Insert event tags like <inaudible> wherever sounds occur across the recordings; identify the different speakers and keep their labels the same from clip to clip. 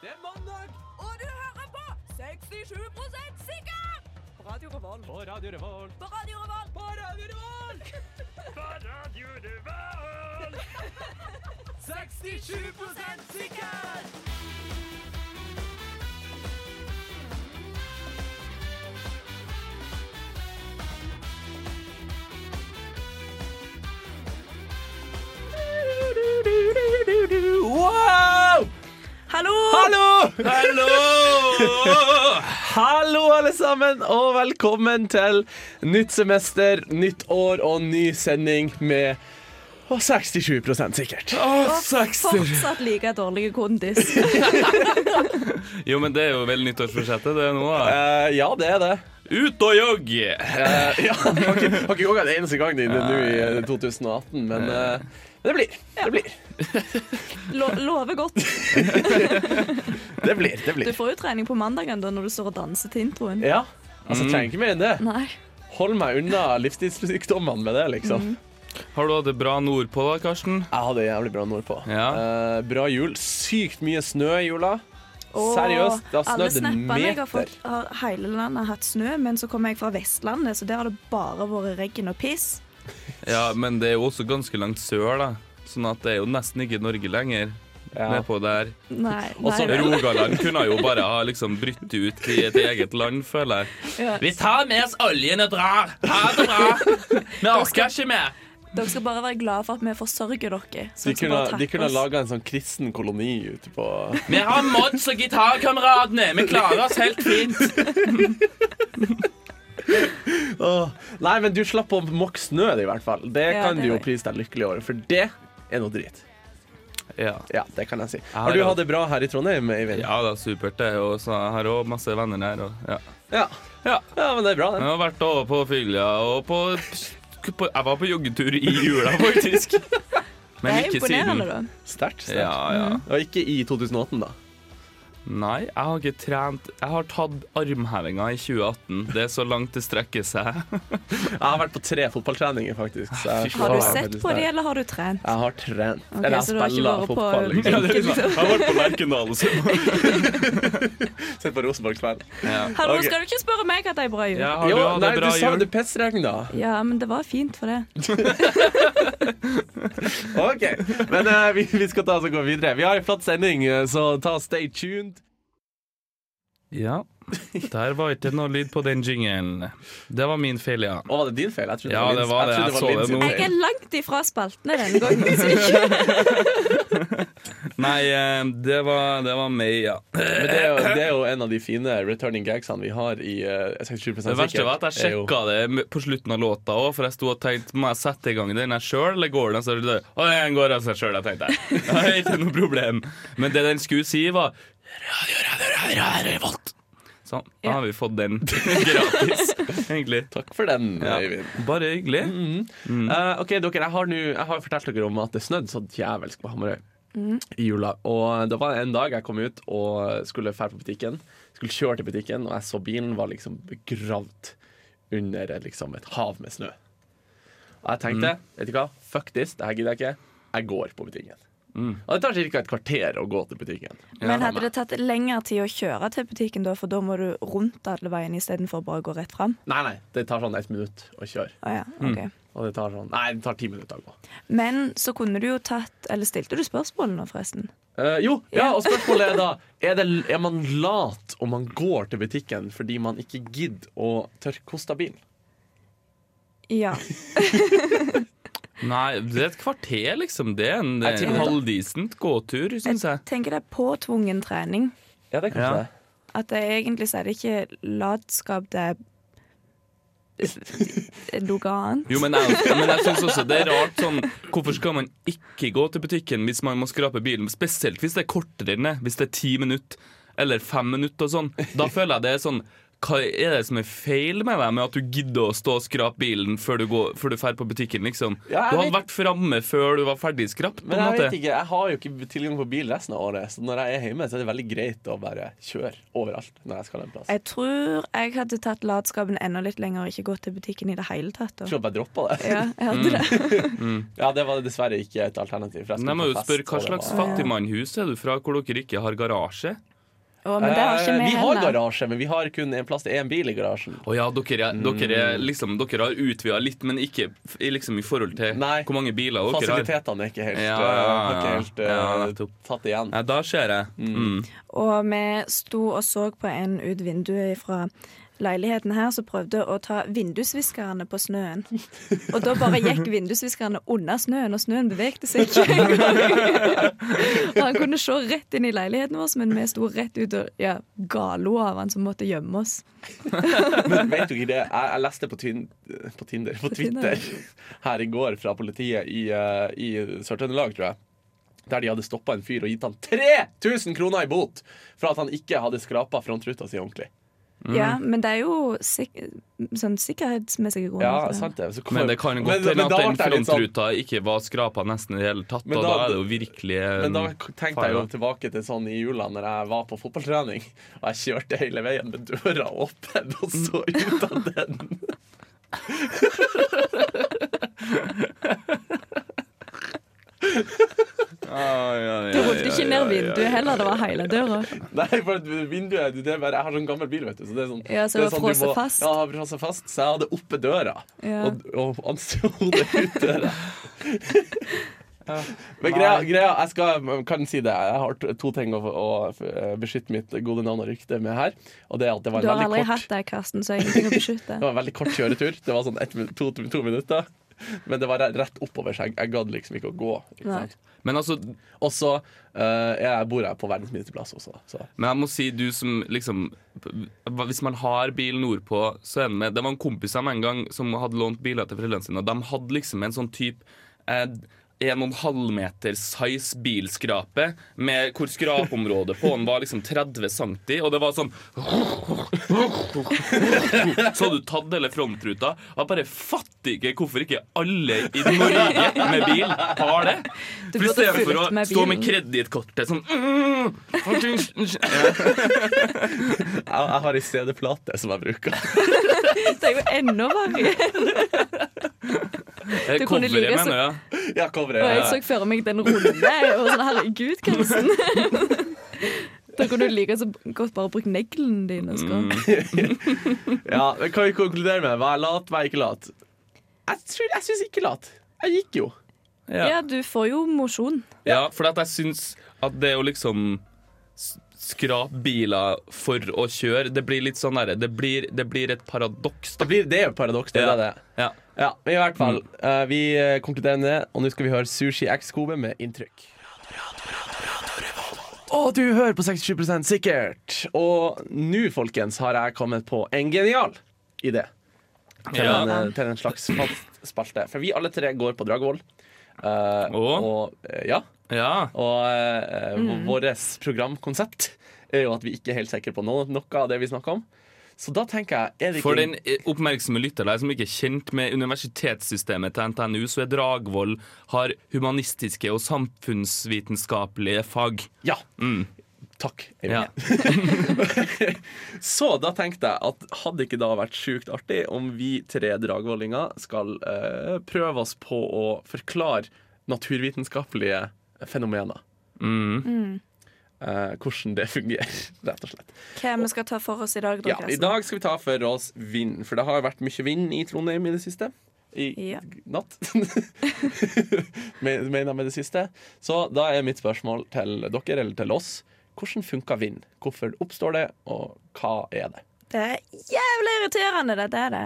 Speaker 1: Det er mandag
Speaker 2: Og du hører på 67 sikker! På Radio Revolt.
Speaker 1: på Radio Revolt.
Speaker 2: På Radio Revolt.
Speaker 1: På Radio Revolt! <laughs> på Radio Revolt! 67 sikker! Wow!
Speaker 2: Hallo!
Speaker 1: Hallo! Hallo! Hallo, alle sammen, og velkommen til nytt semester, nytt år og ny sending med å, 67 sikkert.
Speaker 2: Fortsatt like dårlig kondis.
Speaker 3: Jo, men det er jo vel nyttårsforsettet, det er nå. da.
Speaker 1: Eh, ja, det er det.
Speaker 3: Ut og jogge!
Speaker 1: Eh, ja, har ikke, har ikke gått en eneste gang i det nå i eh, 2018, men eh, men det blir. Det blir.
Speaker 2: Lo lover godt.
Speaker 1: Det blir. det
Speaker 2: Du
Speaker 1: blir.
Speaker 2: får jo trening på mandagen da når du står og danser til introen.
Speaker 1: Ja, altså trenger ikke mer enn det.
Speaker 2: Nei.
Speaker 1: Hold meg unna livsstilssykdommene med det, liksom.
Speaker 3: Har du hatt det bra nordpå, da, Karsten?
Speaker 1: Jeg hadde jævlig bra nordpå.
Speaker 3: Ja.
Speaker 1: Eh, bra jul. Sykt mye snø i jula.
Speaker 2: Og
Speaker 1: Seriøst, det har
Speaker 2: alle
Speaker 1: snødd en
Speaker 2: snappene jeg har
Speaker 1: meter.
Speaker 2: fått, har hele landet hatt snø, men så kommer jeg fra Vestlandet, så der har det bare vært regn og piss.
Speaker 3: Ja, men det er jo også ganske langt sør, da. Sånn at det er jo nesten ikke Norge lenger.
Speaker 1: Ja.
Speaker 3: Nedpå der.
Speaker 2: Nei.
Speaker 1: Og så
Speaker 2: nei, nei.
Speaker 3: Rogaland kunne jo bare ha liksom brytt ut i et eget land, føler jeg.
Speaker 2: Ja.
Speaker 3: Vi tar med oss oljen og drar! Ha det bra! Vi orker ikke mer!
Speaker 2: Dere skal bare være glad for at vi forsørger dere.
Speaker 1: De
Speaker 2: sånn som
Speaker 1: kunne,
Speaker 2: bare
Speaker 1: de
Speaker 2: takker
Speaker 1: kunne
Speaker 2: oss.
Speaker 1: laga en sånn kristen koloni ute på
Speaker 3: <laughs> Vi har Mods og gitarkameratene. Vi klarer oss helt fint.
Speaker 1: Åh. Nei, men du slapp å måke snø, i hvert fall. Det
Speaker 2: Ja,
Speaker 1: kan
Speaker 2: det
Speaker 1: du jo
Speaker 2: var-
Speaker 1: prise deg lykkelig over, for det er noe drit.
Speaker 3: Ja.
Speaker 1: Ja, det kan jeg si.
Speaker 3: har
Speaker 1: Har du
Speaker 3: jo-
Speaker 1: hatt det bra her i Trondheim, Eivind?
Speaker 3: ja da, supert, det. Og så jeg har òg masse venner her. Og, ja.
Speaker 1: Ja.
Speaker 3: Ja.
Speaker 1: Ja, men det er bra,
Speaker 3: Jeg
Speaker 1: det.
Speaker 3: har vært over på Fylja og på, på Jeg var på joggetur i
Speaker 1: <laughs>
Speaker 3: jula, faktisk.
Speaker 2: Det
Speaker 3: Men
Speaker 2: er
Speaker 3: ikke
Speaker 2: imponerende,
Speaker 3: siden.
Speaker 2: da.
Speaker 1: Sterkt. sterkt.
Speaker 3: Ja, ja.
Speaker 1: Og ikke i 2018, da.
Speaker 3: Nei, jeg har ikke trent Jeg har tatt armhevinga i 2018. Det er så langt det
Speaker 1: <laughs>
Speaker 3: strekker seg. <laughs>
Speaker 1: Jeg har vært på tre fotballtreninger, faktisk. så jeg-
Speaker 3: Fy faen.
Speaker 2: Har du
Speaker 3: Ja,
Speaker 2: sett på de, eller har du trent?
Speaker 1: Jeg har trent.
Speaker 2: Ok,
Speaker 1: Eller jeg
Speaker 2: så du har ikke
Speaker 1: spiller
Speaker 2: vært på-
Speaker 1: fotball, liksom.
Speaker 2: Ja, det er liksom-
Speaker 3: Jeg har vært på Lerkendal, så
Speaker 1: <laughs> Sett på Rosenborg-kveld.
Speaker 3: ja.
Speaker 2: Hallo,
Speaker 1: Ok.
Speaker 2: skal du ikke spørre meg hva det er bra jul?
Speaker 3: ja,
Speaker 2: Ja.
Speaker 3: Har du
Speaker 1: Jo,
Speaker 3: hatt
Speaker 1: nei,
Speaker 3: det
Speaker 1: du
Speaker 3: bra
Speaker 1: sa
Speaker 3: jul?
Speaker 1: det pissregn, da.
Speaker 2: men det var fint for det.
Speaker 1: Ok, men eh, vi, vi skal ta oss og gå videre. Vi har en flott sending, eh, så ta stay tuned.
Speaker 3: Ja. Der var ikke noe lyd på den jingelen. Det var min feil, ja.
Speaker 1: Å, var det din feil? Jeg trodde
Speaker 3: Ja,
Speaker 1: det
Speaker 3: det
Speaker 1: var
Speaker 3: var
Speaker 1: min-
Speaker 3: det.
Speaker 1: jeg
Speaker 3: Jeg
Speaker 1: trodde
Speaker 3: så det
Speaker 1: det var min
Speaker 2: Jeg
Speaker 1: sin
Speaker 2: er langt ifra spaltene denne gangen. så ikke-
Speaker 3: Nei, eh, det var, det var meg, ja.
Speaker 1: Men det er, jo, det
Speaker 3: <laughs>
Speaker 1: er jo en av de fine returning gagsene vi har i eh, 67 sikkert.
Speaker 3: Det verste var at jeg
Speaker 1: er jo-
Speaker 3: sjekka det på slutten av låta òg, for jeg sto og tenkte må jeg sette i gang den her sjøl, eller går den? Så er det der, Å, den går av seg sjøl, jeg
Speaker 1: <laughs>
Speaker 3: tenkte jeg. Det er Ikke noe problem. Men det den skulle si, var Radio, radio, radio, radio, Revolt. Sånn. Da har vi fått den <laughs> gratis, egentlig.
Speaker 1: Takk for den,
Speaker 3: Ja.
Speaker 1: Øyvind.
Speaker 3: Bare hyggelig.
Speaker 1: Eh, ok, dere, jeg har, nu, jeg har fortalt dere om at det snødde så djevelsk på Hamarøy i jula. Og det var en dag jeg kom ut og skulle fære på butikken. Skulle kjøre til butikken, og jeg så bilen var liksom begravd under eh, liksom, et hav med snø. Og jeg tenkte, vet du hva, fuck this, det her gidder jeg ikke. Jeg går på butikken. Og det tar ca. et kvarter å gå til butikken.
Speaker 2: Men hadde det tatt lengre tid å kjøre til butikken da, for da må du rundt alle veiene istedenfor bare å gå rett fram?
Speaker 1: Nei, nei, det tar sånn ett minutt å kjøre.
Speaker 2: Å ja, ok.
Speaker 1: Og det tar sånn, nei, det tar ti minutter å gå.
Speaker 2: Men så kunne du jo tatt Eller stilte du spørsmål nå, forresten?
Speaker 1: Eh, jo, ja,
Speaker 2: Ja.
Speaker 1: og spørsmålet er da er, det, er man lat om man går til butikken fordi man ikke gidder å tørrkoste av bilen?
Speaker 2: Ja.
Speaker 3: Nei, det er et kvarter, liksom. Det er en, det
Speaker 1: Jeg
Speaker 3: er en
Speaker 1: tipper-
Speaker 3: halvdisent gåtur, syns jeg.
Speaker 2: Jeg tenker det er påtvungen trening.
Speaker 1: Ja, det er kanskje
Speaker 3: Ja.
Speaker 1: det.
Speaker 2: At det egentlig så er det ikke latskap, det er <laughs> noe annet.
Speaker 3: Jo, men jeg, men jeg synes også det er rart sånn Hvorfor skal man ikke gå til butikken hvis man må skrape bilen? Spesielt hvis det er kortere inne. Hvis det er ti minutter eller fem minutter og sånn.
Speaker 1: <laughs>
Speaker 3: Da føler jeg det er sånn hva er det som er feil med deg med at du gidder å stå og skrape bilen før du, går, før du fer på butikken, liksom?
Speaker 1: Ja, jeg
Speaker 3: du hadde
Speaker 1: vet-
Speaker 3: vært framme før du var ferdig skrapt, på
Speaker 1: Men
Speaker 3: en
Speaker 1: jeg
Speaker 3: måte.
Speaker 1: vet ikke, jeg har jo ikke tilgang på bil resten av året, så når jeg er hjemme, så er det veldig greit å bare kjøre overalt når jeg skal en plass. Jeg
Speaker 2: Jeg tror jeg hadde tatt latskapen enda litt lenger og ikke gått til butikken i det hele tatt. Da.
Speaker 1: tror jeg bare droppa det.
Speaker 2: Ja, jeg hadde det.
Speaker 1: Ja, det var dessverre ikke et alternativ. for jeg
Speaker 3: Men jeg må
Speaker 1: skulle
Speaker 3: jo
Speaker 1: på fest, og
Speaker 3: spørre, Hva
Speaker 1: det
Speaker 3: slags
Speaker 1: var-
Speaker 3: fattigmannhus er du fra hvor dere ikke har garasje?
Speaker 2: Å, men det har ikke
Speaker 1: Eh,
Speaker 2: vi
Speaker 1: vi har
Speaker 2: heller.
Speaker 1: garasje, men vi har kun en plass til én bil i garasjen.
Speaker 3: Å ja, dere, er- dere, er
Speaker 1: Mm.
Speaker 3: liksom, dere har utvida litt, men ikke f- i liksom i forhold til
Speaker 1: Nei.
Speaker 3: hvor mange biler dere har.
Speaker 1: Fasilitetene er ikke helt, eh,
Speaker 3: Ja,
Speaker 1: har
Speaker 3: ja,
Speaker 1: ikke helt eh,
Speaker 3: ja, nettopp.
Speaker 1: tatt igjen.
Speaker 3: Ja, da ser jeg. Mm.
Speaker 2: Og vi sto og så på en ut vinduet fra leiligheten her som prøvde å ta vindusviskerne på snøen. Og da bare gikk vindusviskerne under snøen, og snøen bevegte seg ikke engang. Og han kunne se rett inn i leiligheten vår, men vi sto rett ut og ja, galo av han som måtte gjemme oss.
Speaker 1: Men <laughs> vet du ikke det? Jeg, jeg leste på, tyn, på Tinder, på Twitter, <laughs> her i går fra politiet i, eh, i Sør-Trøndelag, tror jeg. Der de hadde stoppa en fyr og gitt han 3000 kroner i bot for at han ikke hadde skrapa frontruta si ordentlig. Mm.
Speaker 2: Ja, men det er jo sik sånn Altså. sikkerhetsmessige grunner.
Speaker 1: Ja,
Speaker 2: til det.
Speaker 1: sant det. Så kom-
Speaker 3: Men det kan godt
Speaker 1: Men-
Speaker 3: hende
Speaker 1: men da
Speaker 3: at den
Speaker 1: ble jeg litt sånn-
Speaker 3: frontruta ikke var skrapa nesten i det hele tatt,
Speaker 1: Men
Speaker 3: og da,
Speaker 1: da-
Speaker 3: er det jo virkelig mm,
Speaker 1: Men da
Speaker 3: en-
Speaker 1: tenkte jeg jo tilbake til sånn i jula Når jeg var på fotballtrening Og jeg kjørte hele veien med døra åpen Og så ut av den
Speaker 2: Du ropte ikke ned vinduet heller, det var hele døra.
Speaker 1: Nei, for at vinduet det er bare, Jeg har sånn gammel bil, vet du Så det er sånn,
Speaker 2: Ja, så
Speaker 1: det er
Speaker 2: det var
Speaker 1: sånn du
Speaker 2: frosset
Speaker 1: må-
Speaker 2: fast.
Speaker 1: Ja, frosset fast Så jeg hadde oppe døra
Speaker 2: Ja.
Speaker 1: Og, og ansto det
Speaker 2: <laughs>
Speaker 1: ut døra Men greia, greia jeg skal, kan si det Jeg har to- to ting å, å beskytte mitt gode navn og rykte med her Og det er at det var
Speaker 2: Du
Speaker 1: en
Speaker 2: har
Speaker 1: veldig
Speaker 2: aldri
Speaker 1: kort
Speaker 2: hatt det, Karsten, så jeg har ingenting å beskytte.
Speaker 1: Det var en veldig kort kjøretur. Det var sånn ett min- to, to, to minutter. Men det var re- rett oppover, så jeg, jeg gadd liksom ikke å gå. Ikke
Speaker 2: Nei.
Speaker 1: sant?
Speaker 3: Men altså,
Speaker 1: Og så eh, jeg bor jeg på verdens minste plass også. Så.
Speaker 3: men jeg må si, du som liksom hva- Hvis man har bil nordpå, så er den med Det var en kompis av meg en gang som hadde lånt biler til foreldrene sine, og de hadde liksom en sånn type eh, en og en halv meter size bilskrape med hvor skrapområdet på den var liksom 30 cm, og det var sånn Så hadde du tatt hele frontruta. Jeg bare fatter ikke hvorfor ikke alle i Norge med bil har det.
Speaker 2: Du
Speaker 3: For i
Speaker 2: burde
Speaker 3: stedet for å
Speaker 2: fulgt med
Speaker 3: stå med
Speaker 2: bilen.
Speaker 3: kredittkortet sånn mm, fucking- ja.
Speaker 1: Jeg, jeg har ei CD-plate som jeg bruker.
Speaker 2: Det er jo enda verre.
Speaker 3: Eh,
Speaker 2: Du kunne
Speaker 3: Coveret,
Speaker 2: like så-
Speaker 3: mener jeg.
Speaker 1: Ja, coveret.
Speaker 2: Og jeg
Speaker 1: ja.
Speaker 2: så for meg den runde, og sånn herregud, Karsten.
Speaker 1: <laughs>
Speaker 2: Da kunne du like så godt bare brukt neglene dine. altså.
Speaker 1: Mm,
Speaker 2: Skål.
Speaker 1: Ja, men kan vi konkludere med Var jeg lat, var jeg ikke lat? Jeg, tror- jeg syns ikke lat. Jeg gikk jo.
Speaker 3: Ja.
Speaker 2: Ja, du får jo mosjon.
Speaker 3: ja, for at jeg syns at det å liksom s- skrape biler for å kjøre, det blir litt sånn derre det, blir- det blir et paradoks, da.
Speaker 1: Det, blir, det er jo et paradoks. Det, det,
Speaker 3: Ja.
Speaker 1: er det.
Speaker 3: Ja.
Speaker 1: Ja, men i hvert fall. eh, vi eh, konkluderer med det, og nå skal vi høre Sushi X-Kobe med inntrykk. Og du hører på 67 sikkert. Og nå, folkens, har jeg kommet på en genial idé til,
Speaker 3: Ja.
Speaker 1: en, eh, til en slags fast spalte. For vi alle tre går på Dragvoll. Eh,
Speaker 3: Å?
Speaker 1: og, eh, ja,
Speaker 3: ja.
Speaker 1: og eh, vårt programkonsept er jo at vi ikke er helt sikre på noe, noe av det vi snakker om. Så da tenker jeg er det ikke
Speaker 3: For den eh, oppmerksomme lytter der som ikke er kjent med universitetssystemet til NTNU, så er Dragvoll har humanistiske og samfunnsvitenskapelige fag.
Speaker 1: Ja. Takk. Eivind.
Speaker 3: Mm. Ja.
Speaker 1: Så da tenkte jeg at hadde ikke da vært sjukt artig om vi tre dragvollinger skal eh, prøve oss på å forklare naturvitenskapelige fenomener.
Speaker 3: Mm.
Speaker 1: Eh, hvordan det fungerer, rett og slett.
Speaker 2: Hva vi skal ta for oss i dag, da,
Speaker 1: Ja, I
Speaker 2: Karsten?
Speaker 1: dag skal vi ta for oss vind, for det har jo vært mye vind i Trondheim i det siste. I
Speaker 2: Ja.
Speaker 1: natt. <laughs> Men- Mener jeg med det siste. Så da er mitt spørsmål til dere, eller til oss, hvordan funker vind? Hvorfor oppstår det, og hva er det?
Speaker 2: Det er jævlig irriterende, dette
Speaker 1: <laughs>
Speaker 2: er det.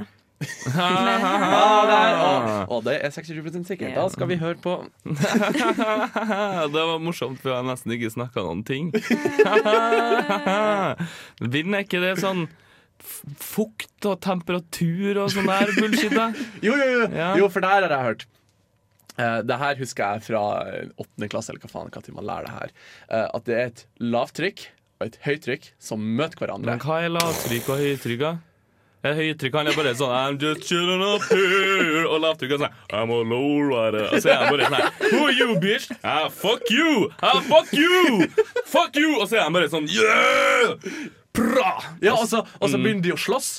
Speaker 1: Ah, der, og, og det er 26 sikkert. Da skal vi høre på
Speaker 3: det var morsomt, for jeg har nesten ikke snakka noen ting. Vind er ikke det sånn f- fukt og temperatur og sånn der bullshit? da?
Speaker 1: Jo, jo, jo,
Speaker 3: Ja.
Speaker 1: jo for der har jeg hørt. Eh, det her husker jeg fra åttende klasse, eller hva faen hva tid man lærer det her. Eh, at det er et lavtrykk og et høytrykk som møter hverandre.
Speaker 3: Men hva er lavtrykk og høytrykk, da? Er Høytrykk han er bare sånn I'm just chilling up here Og lavtrykk er sånn I'm a lowrider Og så er han bare sånn her, Who are you, bitch? Ah, fuck you! Ah, fuck you! Fuck you! Og så er han bare sånn Yeah!
Speaker 1: altså,
Speaker 3: Bra! Mm.
Speaker 1: Ja, og så, og så begynner de å slåss.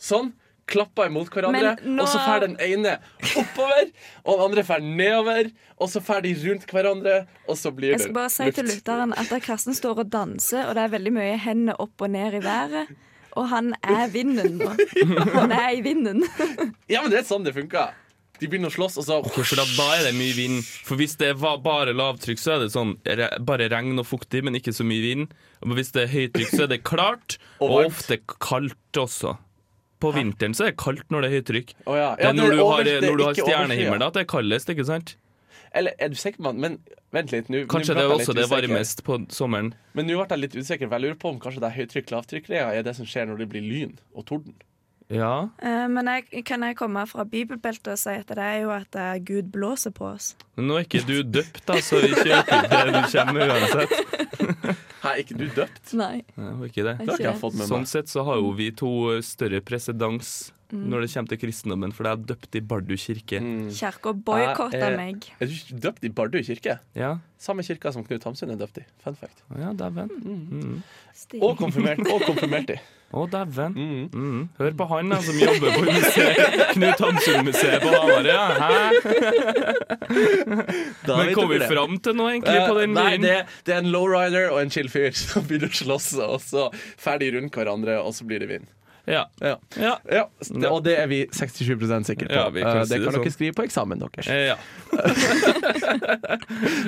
Speaker 1: Sånn. klapper imot hverandre,
Speaker 2: Men nå-
Speaker 1: og så fær den ene oppover, og den andre fær nedover, og så fær de rundt hverandre, og så blir
Speaker 2: Jeg
Speaker 1: det
Speaker 2: skal bare si til lytteren at da Karsten står og danser, og det er veldig mye hender opp og ned i været. Og han er vinden nå. Han er i vinden. <laughs>
Speaker 1: Ja, men det er sånn det funker. De begynner å slåss, og så
Speaker 3: Ok, for da, da er det mye vind. For hvis det var bare lavtrykk, så er det sånn re bare regn og fuktig, men ikke så mye vind. Og hvis det er høytrykk, så er det klart,
Speaker 1: <laughs> Og
Speaker 3: og,
Speaker 1: varmt.
Speaker 3: ofte kaldt også. På vinteren så er det kaldt når det er høytrykk.
Speaker 1: Å ja.
Speaker 3: Det
Speaker 1: Ja,
Speaker 3: er når du
Speaker 1: over-
Speaker 3: har,
Speaker 1: det er
Speaker 3: når du har
Speaker 1: ikke overskyet.
Speaker 3: stjernehimmel, da, at det er kaldest, ikke sant?
Speaker 1: Eller er du sikker, mann? Men vent litt. nå- nå
Speaker 3: Kanskje
Speaker 1: ble
Speaker 3: det er
Speaker 1: jeg litt
Speaker 3: også det
Speaker 1: usikker.
Speaker 3: varmest på sommeren.
Speaker 1: Men nå ble jeg litt usikker, for jeg lurer på om kanskje det er høytrykk-lavtrykk-greia er det som skjer når det blir lyn og torden.
Speaker 3: Ja,
Speaker 2: Eh, Men jeg, kan jeg komme fra bibelbeltet og si at det er jo at eh, Gud blåser på oss?
Speaker 3: men nå er ikke du døpt, da, så vi
Speaker 1: <laughs>
Speaker 3: kjøper det du kommer med uansett.
Speaker 1: Hæ, er ikke du døpt?
Speaker 2: Nei.
Speaker 3: Nei, hun er ikke det.
Speaker 1: Det har ikke jeg fått med
Speaker 3: Sånn
Speaker 1: meg.
Speaker 3: sett så har jo vi to eh, større presedans
Speaker 1: Mm.
Speaker 3: når det kommer til kristendommen, for jeg er døpt i Bardu kirke.
Speaker 2: Kirka
Speaker 1: Jeg
Speaker 2: boikotta
Speaker 1: er-
Speaker 2: meg.
Speaker 1: Er du ikke døpt i Bardu kirke?
Speaker 3: Ja,
Speaker 1: Samme kirka som Knut Hamsun er døpt i. Fun fact.
Speaker 3: ja dæven. Mm.
Speaker 2: Stig.
Speaker 1: <laughs> Og konfirmert, og konfirmert i.
Speaker 3: Å, dæven.
Speaker 1: Mm.
Speaker 3: Mm. Hør på han da, som jobber på museet. Knut Hamsun-museet på Hamar, ja. Hæ?
Speaker 1: Da
Speaker 3: Men
Speaker 1: vet
Speaker 3: kom vi
Speaker 1: dere det.
Speaker 3: fram til noe, egentlig, på
Speaker 1: Eh,
Speaker 3: den
Speaker 1: Nei,
Speaker 3: byen?
Speaker 1: det, det er en lowrider og en chill fyr som <laughs> begynner å slåss, og så ferdig rundt hverandre, og så blir det vind.
Speaker 3: Ja.
Speaker 1: Ja.
Speaker 3: Ja.
Speaker 1: Ja, s- det, og det er vi 67 sikre på.
Speaker 3: Ja, vi kan
Speaker 1: Eh,
Speaker 3: si
Speaker 1: det
Speaker 3: det
Speaker 1: kan
Speaker 3: sånn.
Speaker 1: dere skrive på eksamen deres.
Speaker 3: Eh, ja.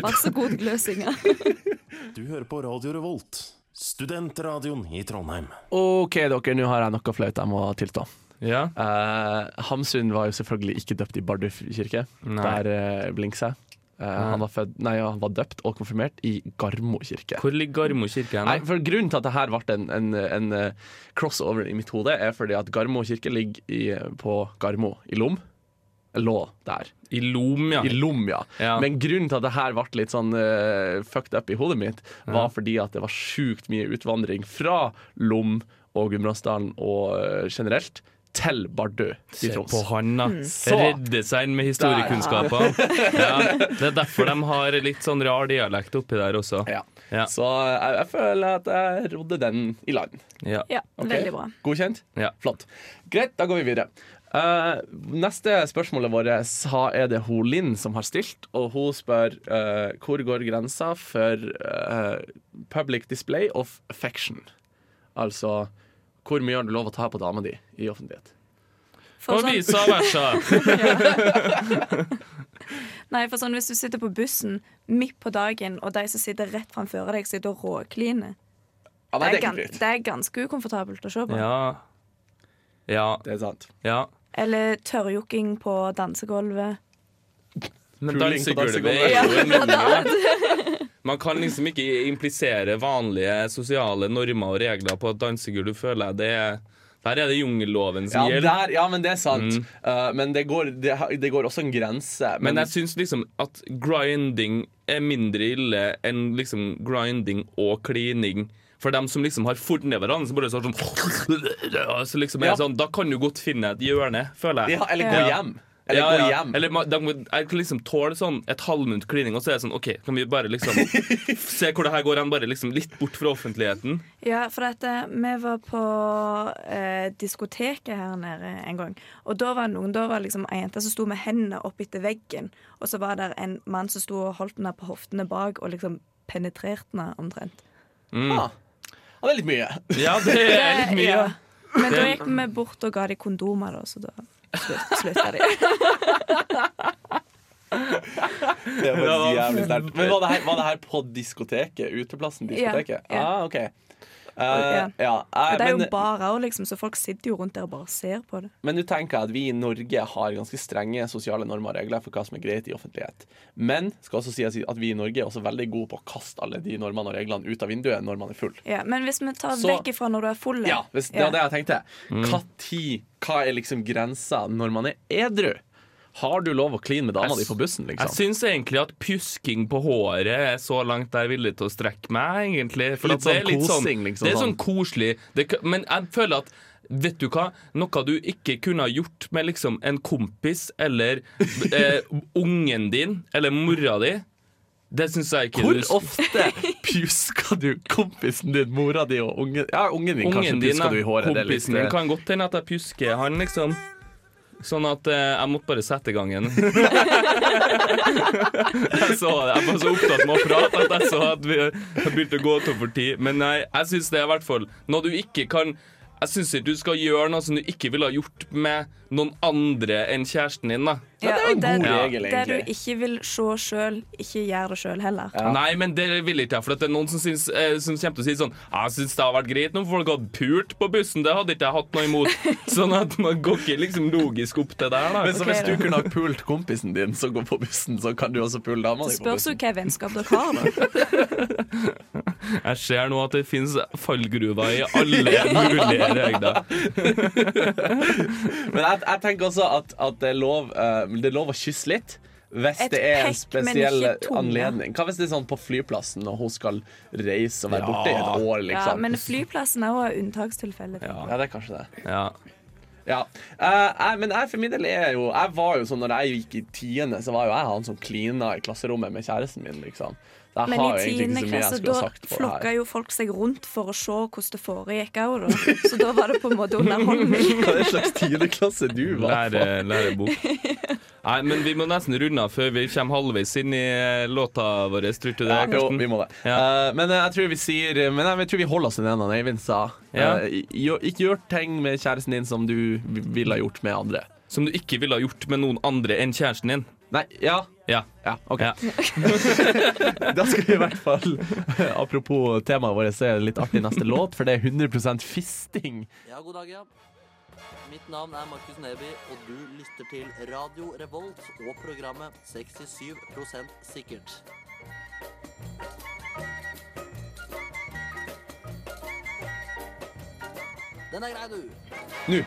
Speaker 2: Vær så god, Gløsinga.
Speaker 4: Du hører på Radio Revolt, studentradioen i Trondheim.
Speaker 1: OK, dere, nå har jeg noe flaut jeg må tilstå.
Speaker 3: ja.
Speaker 1: Eh, Hamsun var jo selvfølgelig ikke døpt i Bardu kirke.
Speaker 3: Nei.
Speaker 1: Der eh, blinks jeg. Eh, han, var født, nei, ja, han var døpt og konfirmert i Garmo kirke.
Speaker 3: Hvor ligger Garmo kirke
Speaker 1: Nei,
Speaker 3: hen? da?
Speaker 1: for Grunnen til at det her ble en, en, en eh, crossover i mitt hode, er fordi at Garmo kirke ligger i, på Garmo i Lom. Lå der.
Speaker 3: I Lom, ja.
Speaker 1: I Lom, ja.
Speaker 3: Ja.
Speaker 1: Men grunnen til at det her ble litt sånn eh, fucked up i hodet mitt, var fordi at det var sjukt mye utvandring fra Lom og Gudbrandsdalen og eh, generelt til Bardu i
Speaker 3: Se
Speaker 1: Troms.
Speaker 3: på han, da.
Speaker 2: Mm.
Speaker 1: Så.
Speaker 3: Redde seg inn med historiekunnskapene. Ja, det er derfor de har litt sånn rar dialekt oppi der også.
Speaker 1: Ja.
Speaker 3: Ja.
Speaker 1: Så eh, jeg, jeg føler at jeg rodde den i land.
Speaker 3: Ja.
Speaker 2: <laughs> Ja,
Speaker 1: Ok?
Speaker 2: veldig bra.
Speaker 1: Godkjent?
Speaker 3: Ja.
Speaker 1: Flott. Greit, da går vi videre. Eh, neste spørsmålet vårt ha- er det hun Linn som har stilt, og hun spør eh, hvor går grensa for eh, public display of affection? Altså hvor mye har du lov å ta på dama di i offentlighet?
Speaker 2: For
Speaker 3: Og
Speaker 2: sånn,
Speaker 3: visa versa.
Speaker 2: nei, for sånn, hvis du sitter på bussen midt på dagen, og de som sitter rett framfor deg, sitter og råkliner
Speaker 1: Ja,
Speaker 2: det
Speaker 1: nei, det
Speaker 2: er,
Speaker 1: er ikke
Speaker 2: gan-
Speaker 1: greit.
Speaker 2: det er ganske ukomfortabelt å se på.
Speaker 3: Ja. Ja.
Speaker 1: Det er sant.
Speaker 3: ja.
Speaker 2: Eller tørrjokking på dansegulvet.
Speaker 1: Puling
Speaker 3: Men
Speaker 1: på
Speaker 3: dansegulvet
Speaker 1: dansegulvet.
Speaker 3: er jo en minimum. Man kan liksom ikke implisere vanlige sosiale normer og regler på et dansegulv, føler jeg. Det er, der er det jungelloven
Speaker 1: Ja,
Speaker 3: som gjelder.
Speaker 1: der, ja, men det er sant. Eh, men det går, det, har- det går også en grense.
Speaker 3: Men jeg syns liksom at grinding er mindre ille enn liksom grinding og klining. For dem som liksom har funnet hverandre, som bare så sånn så liksom er
Speaker 1: Ja.
Speaker 3: det sånn, Da kan du godt finne et hjørne, føler jeg.
Speaker 1: ja, eller gå
Speaker 2: Ja.
Speaker 1: hjem. Eller
Speaker 3: Ja,
Speaker 1: gå
Speaker 3: ja.
Speaker 1: hjem.
Speaker 3: Eller ma- da må- jeg kan liksom tåle sånn et halvminutt klining, og så er det sånn OK, kan vi bare
Speaker 1: <laughs>
Speaker 3: liksom se hvor det her går hen, bare liksom litt bort fra offentligheten?
Speaker 2: Ja, for dette, vi var på eh, diskoteket her nede en gang. Og da var det noen, da var det liksom ei jente som sto med hendene opp etter veggen. Og så var det en mann som sto og holdt henne på hoftene bak og liksom penetrerte henne omtrent.
Speaker 1: Ja. ja, det er litt mye.
Speaker 3: Ja, det er litt mye.
Speaker 2: Ja. Men da
Speaker 3: Det-
Speaker 2: gikk vi bort og ga de kondomer, da, så da slutt-
Speaker 1: <laughs>
Speaker 2: slutta de.
Speaker 1: Det var
Speaker 3: Ja.
Speaker 1: jævlig sterkt. Men var det, her, var det her på diskoteket? Uteplassen diskoteket?
Speaker 2: Ja, ja.
Speaker 1: Ah, ok. Eh, ja. eh,
Speaker 2: Og det er jo
Speaker 1: men,
Speaker 2: barer òg, liksom, så folk sitter jo rundt der og bare ser på det.
Speaker 1: men nå tenker jeg at vi i Norge har ganske strenge sosiale normer og regler for hva som er greit i offentlighet. Men skal også sies at vi i Norge er også veldig gode på å kaste alle de normene og reglene ut av vinduet når man er full.
Speaker 2: Ja, men hvis vi tar
Speaker 1: Så-
Speaker 2: vekk ifra når du er full
Speaker 1: Ja, hvis det var det jeg tenkte. Hva tid, hva er liksom grensa når man er edru? Har du lov å kline med dama di på bussen,
Speaker 3: Jeg
Speaker 1: liksom?
Speaker 3: syns egentlig at pjusking på håret er så langt jeg er villig til å strekke meg, egentlig. For
Speaker 1: Litt
Speaker 3: at det er
Speaker 1: sånn
Speaker 3: litt
Speaker 1: kosing, liksom,
Speaker 3: Det er
Speaker 1: sånn.
Speaker 3: sånn koselig. Det, k- men jeg føler at Vet du hva? Noe du ikke kunne ha gjort med liksom en kompis eller
Speaker 1: <laughs>
Speaker 3: eh, ungen din eller mora di. Det syns jeg ikke
Speaker 1: Hvor
Speaker 3: du
Speaker 1: <laughs>
Speaker 3: s-
Speaker 1: ofte Pjusker du kompisen din, mora di og ungen Ja, ungen din kanskje
Speaker 3: Ungen din,
Speaker 1: pjusker du i håret. det er litt,
Speaker 3: kompisen din,
Speaker 1: eh,
Speaker 3: kan godt hende at jeg pjusker han, liksom. Sånn at eh, jeg måtte bare sette i gang
Speaker 1: <laughs>
Speaker 3: igjen. jeg, så, det. jeg var så opptatt med å prate at jeg så at vi jeg begynte å gå tom for tid. Men nei, jeg syns det er i hvert fall noe du ikke kan Jeg syns ikke du skal gjøre noe som du ikke ville ha gjort med noen andre enn kjæresten din, da.
Speaker 1: Ja, det er en
Speaker 2: og
Speaker 1: god
Speaker 2: der-
Speaker 1: regel,
Speaker 2: Der du
Speaker 1: egentlig.
Speaker 2: ikke vil se sjøl, ikke gjør det sjøl heller.
Speaker 3: Nei, men det vil ikke jeg. For at det er noen som, syns, eh, som kommer til å si sånn Jeg syns det har vært greit når folk hadde pult på bussen. Det hadde ikke jeg hatt noe
Speaker 1: <laughs>
Speaker 3: imot. Sånn at man går ikke liksom logisk opp til det der,
Speaker 1: Men
Speaker 3: da.
Speaker 1: så
Speaker 2: Ok,
Speaker 1: hvis du
Speaker 2: da.
Speaker 1: kunne ha pult kompisen din som går på bussen, så kan du også pule dama
Speaker 2: Det
Speaker 1: di på
Speaker 2: spørs jo
Speaker 1: bussen.
Speaker 2: hva vennskap dere har,
Speaker 1: <laughs>
Speaker 2: da.
Speaker 3: Jeg ser nå at det finnes fallgruver i
Speaker 1: <laughs>
Speaker 3: alle mulige regler.
Speaker 1: Men jeg, jeg tenker også at, at det, er lov, eh, det er lov å kysse litt. Hvis
Speaker 2: Et
Speaker 1: det er en
Speaker 2: pekk, men
Speaker 1: spesiell
Speaker 2: ikke tunge.
Speaker 1: anledning. Hva hvis det er sånn på flyplassen, og hun skal reise og være
Speaker 3: Ja.
Speaker 1: borte i et år,
Speaker 2: Ja,
Speaker 1: liksom?
Speaker 2: men flyplassen er også et unntakstilfelle.
Speaker 1: ja, det er kanskje det.
Speaker 3: Ja.
Speaker 1: Ja. Eh, jeg, men jeg for min del er jo Jeg var jo sånn når jeg gikk i tiende, så var jo jeg han som klina i klasserommet med kjæresten min, liksom. Så jeg
Speaker 2: Men
Speaker 1: har
Speaker 2: i
Speaker 1: jo egentlig ikke
Speaker 2: tiende
Speaker 1: så mye jeg
Speaker 2: klasse
Speaker 1: skulle
Speaker 2: da
Speaker 1: ha sagt på det
Speaker 2: flokka
Speaker 1: her.
Speaker 2: jo folk seg rundt for å se hvordan det foregikk òg, da. Så da var det på en
Speaker 1: <laughs>
Speaker 2: måte underholdning.
Speaker 1: Hva er det slags tiendeklasse du var på?
Speaker 3: Lære, lærebok. Nei, men vi må nesten runde av før vi kommer halvveis inn i eh, låta vår. Tror du det,
Speaker 1: Ja, jo, vi
Speaker 3: Karsten?
Speaker 1: må det.
Speaker 3: Ja.
Speaker 1: Eh, men eh, jeg tror vi sier Men jeg, tror vi holder oss til den han Eivind sa.
Speaker 3: Ja.
Speaker 1: Eh, gjør- ikke gjør ting med kjæresten din som du vi- ville ha gjort med andre.
Speaker 3: Som du ikke ville ha gjort med noen andre enn kjæresten din.
Speaker 1: Nei, ja.
Speaker 3: Ja.
Speaker 1: Ja, OK.
Speaker 3: ja.
Speaker 1: <laughs> Da skal vi i hvert fall eh, Apropos temaet vårt, så er det litt artig neste låt, for det er 100 fisting.
Speaker 5: Ja, god dag, ja. Mitt navn er Markus Neby, og du lytter til Radio Revolt og programmet 67 sikkert. Den er grei, du.
Speaker 1: Nå.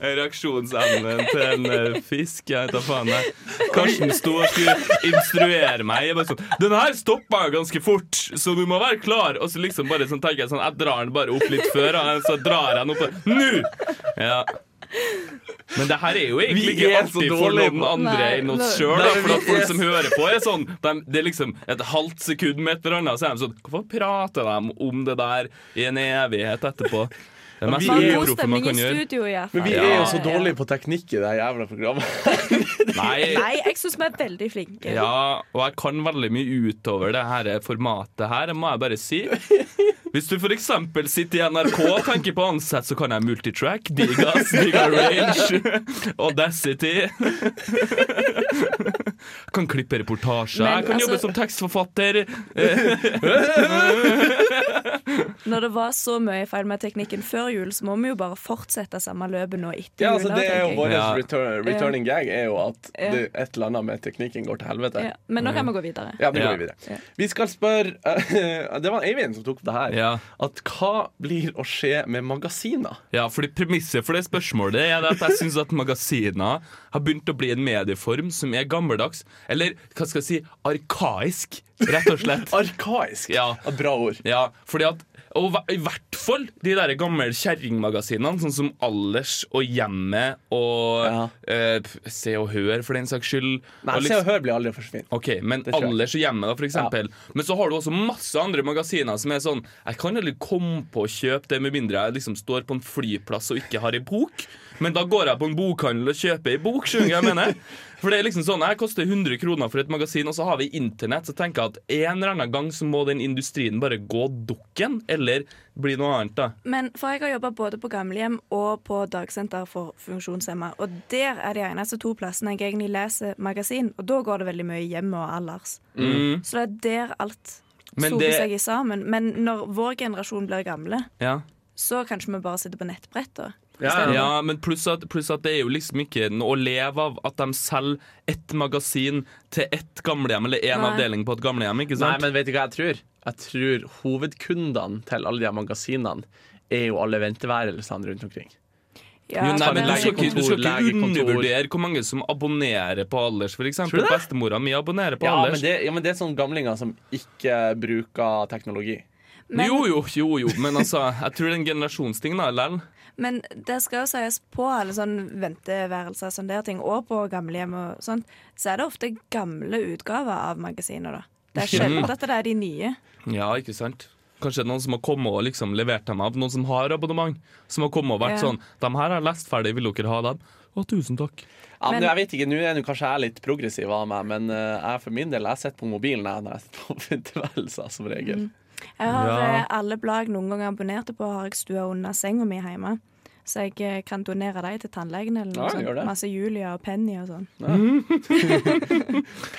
Speaker 3: Reaksjonsevnen til en eh, fisk. Jeg vet da faen. Jeg. Karsten sto og skulle instruere meg. Jeg bare sånn, Den her stoppa jo ganske fort, så du må være klar. Og så liksom bare sånn tenker jeg sånn Jeg drar den bare opp litt før, og så drar jeg den opp og Nå! Ja. Men det her er jo egentlig
Speaker 1: Vi
Speaker 3: ikke
Speaker 1: er så
Speaker 3: artig for
Speaker 1: dårlige
Speaker 3: noen
Speaker 1: på-
Speaker 3: andre
Speaker 2: Nei,
Speaker 3: enn oss
Speaker 2: nei.
Speaker 3: sjøl.
Speaker 1: Nei,
Speaker 3: For at
Speaker 1: vi
Speaker 3: folk
Speaker 1: er-
Speaker 3: som hører på, er sånn de, Det er liksom et halvt sekund med et eller annet, så er de sånn Hvorfor prater de om det der i en evighet etterpå? Det er
Speaker 1: vi
Speaker 3: mest
Speaker 2: Man
Speaker 1: er jo
Speaker 2: god
Speaker 3: uproffet man
Speaker 2: stemning i
Speaker 3: kan gjøre.
Speaker 2: studio, i hvert fall.
Speaker 1: Men vi
Speaker 3: Ja.
Speaker 1: er jo så dårlige på teknikk i det jævla programmet.
Speaker 3: Nei,
Speaker 2: Nei, jeg syns vi er veldig flinke.
Speaker 3: Ja, og jeg kan veldig mye utover det her formatet her, det må jeg bare si. Hvis du f.eks. sitter i NRK og tenker på ansett, så kan jeg multitrack, digas, diga range, audacity. Jeg kan klippe reportasjer,
Speaker 2: Men
Speaker 3: jeg kan
Speaker 2: altså-
Speaker 3: jobbe som tekstforfatter.
Speaker 2: Når det var så mye feil med teknikken før jul, så må vi jo bare fortsette samme løpet nå etter
Speaker 1: <laughs> Ja,
Speaker 2: jul.
Speaker 1: altså
Speaker 2: da,
Speaker 1: det er jo
Speaker 2: tenker jeg.
Speaker 1: vår
Speaker 3: Ja.
Speaker 1: return, returning gag er jo at
Speaker 2: Ja.
Speaker 1: det, et eller annet med teknikken går til helvete.
Speaker 2: ja. Men nå kan vi gå videre.
Speaker 1: Ja, nå går
Speaker 3: Ja.
Speaker 1: vi videre. Vi skal spørre eh, <laughs> Det var Eivind som tok opp det her.
Speaker 3: Ja.
Speaker 1: At hva blir å skje med magasiner?
Speaker 3: Ja, fordi Premisset for det spørsmålet er det at jeg syns at magasiner har begynt å bli en medieform som er gammeldags, eller hva skal jeg si, arkaisk, rett og slett.
Speaker 1: Arkaisk.
Speaker 3: Ja.
Speaker 1: Bra ord.
Speaker 3: Ja, fordi at og hva- i hvert fall de der gamle kjerringmagasinene, sånn som Allers og Hjemmet og
Speaker 1: Ja.
Speaker 3: eh, p- Se og Hør, for den saks skyld.
Speaker 1: Nei,
Speaker 3: og liksom-
Speaker 1: Se og Hør blir aldri å forsvinne.
Speaker 3: Ok, Men
Speaker 1: tror jeg.
Speaker 3: Allers og Hjemmet, da, for eksempel. Men så har du også masse andre magasiner som er sånn Jeg kan aldri komme på å kjøpe det, med mindre jeg liksom står på en flyplass og ikke har ei bok. Men da går jeg på en bokhandel og kjøper ei bok, skjønner du hva
Speaker 1: <laughs>
Speaker 3: jeg mener? For det er liksom sånn, Jeg koster 100 kroner for et magasin, og så har vi internett. Så tenker jeg at en eller annen gang så må den industrien bare gå dukken, eller bli noe annet, da.
Speaker 2: Men for jeg har jobba både på gamlehjem og på dagsenter for funksjonshemma. Og der er de eneste to plassene jeg egentlig leser magasin, og da går det veldig mye hjemme og allers.
Speaker 1: Mm.
Speaker 2: Så det er der alt
Speaker 3: Men
Speaker 2: soper
Speaker 3: det-
Speaker 2: seg i sammen. Men når vår generasjon blir gamle,
Speaker 3: Ja.
Speaker 2: så kanskje vi bare sitter på nettbretter.
Speaker 1: Ja, ja.
Speaker 3: Ja, men pluss at, pluss at det er jo liksom ikke noe å leve av at de selger ett magasin til ett gamlehjem, eller én
Speaker 2: Nei.
Speaker 3: avdeling på et gamlehjem, ikke
Speaker 1: Nei,
Speaker 3: sant?
Speaker 1: men vet du hva jeg tror? Jeg tror hovedkundene til alle de her magasinene er jo alle venteværelsene rundt omkring.
Speaker 2: Ja,
Speaker 3: jo, nei,
Speaker 1: kan
Speaker 3: men du
Speaker 1: være
Speaker 3: skal ikke, du skal ikke
Speaker 1: legekontor, legekontor.
Speaker 3: undervurdere hvor mange som abonnerer på Allers, for eksempel.
Speaker 1: Tror du det?
Speaker 3: Bestemora mi abonnerer på
Speaker 1: Ja men, sånn
Speaker 3: Allers.
Speaker 1: det, ja, men det er sånne gamlinger som ikke bruker teknologi.
Speaker 2: Men-
Speaker 3: Jo, jo, jo, jo, men altså, jeg tror det er en generasjonsting, da, lell.
Speaker 2: Men det skal jo sies på alle sånne venteværelser og sånne der ting, og på gamlehjem og sånt, så er det ofte gamle utgaver av magasiner, da. Det er
Speaker 1: Mm.
Speaker 2: sjelden at det er de nye.
Speaker 3: Ja, ikke sant? Kanskje det er noen som har kommet og liksom levert dem av, noen som har abonnement, som har kommet og vært
Speaker 2: Ja.
Speaker 3: sånn, de her har jeg lest ferdig, vil dere ha dem? Å, tusen takk.
Speaker 1: Ja, men jeg
Speaker 2: Men-
Speaker 1: vet ikke, Nå er nå kanskje jeg litt progressiv av meg, men eh, jeg for min del jeg sitter på mobilen jeg, når jeg sitter på <laughs> venteværelser, som regel.
Speaker 2: Jeg har
Speaker 3: Ja.
Speaker 2: eh, alle blad jeg noen gang abonnerte på, har jeg stua under senga mi hjemme. Så jeg eh, kan donere dem til tannlegen eller
Speaker 1: Ja,
Speaker 2: noe
Speaker 1: gjør det.
Speaker 2: sånt. Masse Julia og Penny og sånn.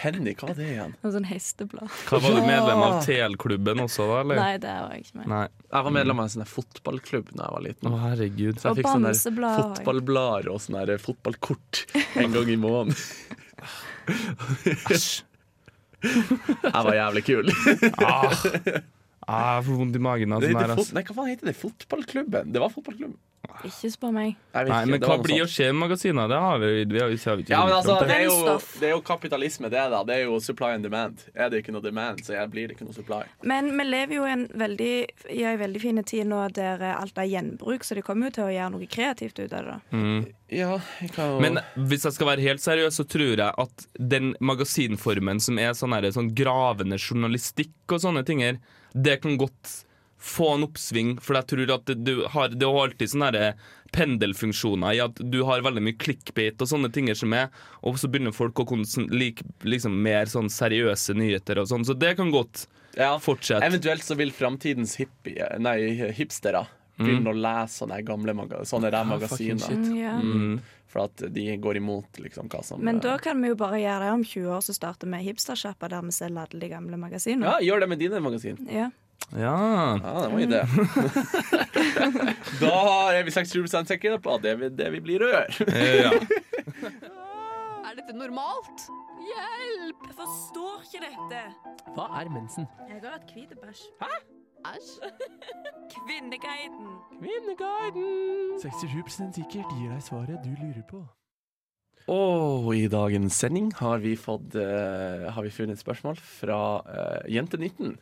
Speaker 1: Penny, hva var det igjen?
Speaker 2: Og sånn hesteblad.
Speaker 3: Hva var du
Speaker 1: Ja.
Speaker 3: medlem av TL-klubben også, da, eller?
Speaker 2: Nei, det var jeg ikke med.
Speaker 3: Nei.
Speaker 1: Jeg var medlem av en sånn her fotballklubb da jeg var
Speaker 3: Å,
Speaker 1: liten.
Speaker 3: herregud.
Speaker 1: Så jeg
Speaker 2: Og
Speaker 1: fikk sånn sånne her
Speaker 2: bamseblad og-
Speaker 1: fotballblader og sånne her eh, fotballkort en gang i måneden.
Speaker 3: Æsj.
Speaker 1: <laughs> Jeg var jævlig kul.
Speaker 3: Ah. Ah, jeg får vondt i magen av
Speaker 1: Det
Speaker 3: sånn
Speaker 1: heter
Speaker 3: her,
Speaker 1: fot
Speaker 3: ass.
Speaker 1: Nei, hva faen heter det? Fotballklubben? Det var fotballklubben.
Speaker 2: Ikke spør meg.
Speaker 1: Jeg vet
Speaker 3: Nei,
Speaker 1: ikke,
Speaker 3: men
Speaker 1: det
Speaker 3: hva
Speaker 1: var noe
Speaker 3: blir å
Speaker 1: sånt.
Speaker 3: skje med magasiner? Det har vi, vi har, vi har vi ikke
Speaker 1: ja, men altså,
Speaker 3: rundt om.
Speaker 1: det er, jo,
Speaker 2: Brennstoff.
Speaker 1: det er jo kapitalisme, det, da. Det er jo supply and demand. Er det ikke noe demand, så jeg blir det ikke noe supply.
Speaker 2: Men vi lever jo i en veldig, i en veldig fin tid nå der eh, alt er gjenbruk, så de kommer jo til å gjøre noe kreativt ut av det. da.
Speaker 1: Ja, jeg kan jo
Speaker 3: Men hvis jeg skal være helt seriøs, så tror jeg at den magasinformen som er sånn, her, sånn gravende journalistikk og sånne ting her, det kan godt få en oppsving, for jeg tror at det- du har, det er jo alltid sånne her eh, pendelfunksjoner i at du har veldig mye clickbait og sånne ting her som er, og så begynner folk å konsen- like, liksom mer sånn seriøse nyheter og sånn, så det kan godt
Speaker 1: ja.
Speaker 3: fortsette.
Speaker 1: Eventuelt så vil framtidens hippie, nei, hipstere begynne å lese sånne her gamle maga sånne der
Speaker 3: Mm. Ah, fucking
Speaker 1: magasiner.
Speaker 3: shit.
Speaker 2: Ja.
Speaker 1: For at de går imot liksom, hva som
Speaker 2: Mm. Men da kan vi jo bare gjøre det om 20 år, så starter vi hipstersjappa der vi selger alle de gamle magasinene.
Speaker 1: Ja, gjør det med dine magasin.
Speaker 2: Ja.
Speaker 1: Ja,
Speaker 3: Ja.
Speaker 1: det var en idé. <laughs> da er vi 60 sikre på at det, vi- det vi blir rør.
Speaker 3: ja.
Speaker 6: Er dette normalt? Hjelp!
Speaker 2: Jeg forstår ikke dette.
Speaker 7: Hva er mensen?
Speaker 2: Jeg har hatt hvit bæsj.
Speaker 6: Æsj.
Speaker 2: Kvinneguiden.
Speaker 7: 67 sikkert gir deg svaret du lurer på.
Speaker 1: Og i dagens sending har vi, fått, eh, har vi funnet et spørsmål fra eh, Jente19,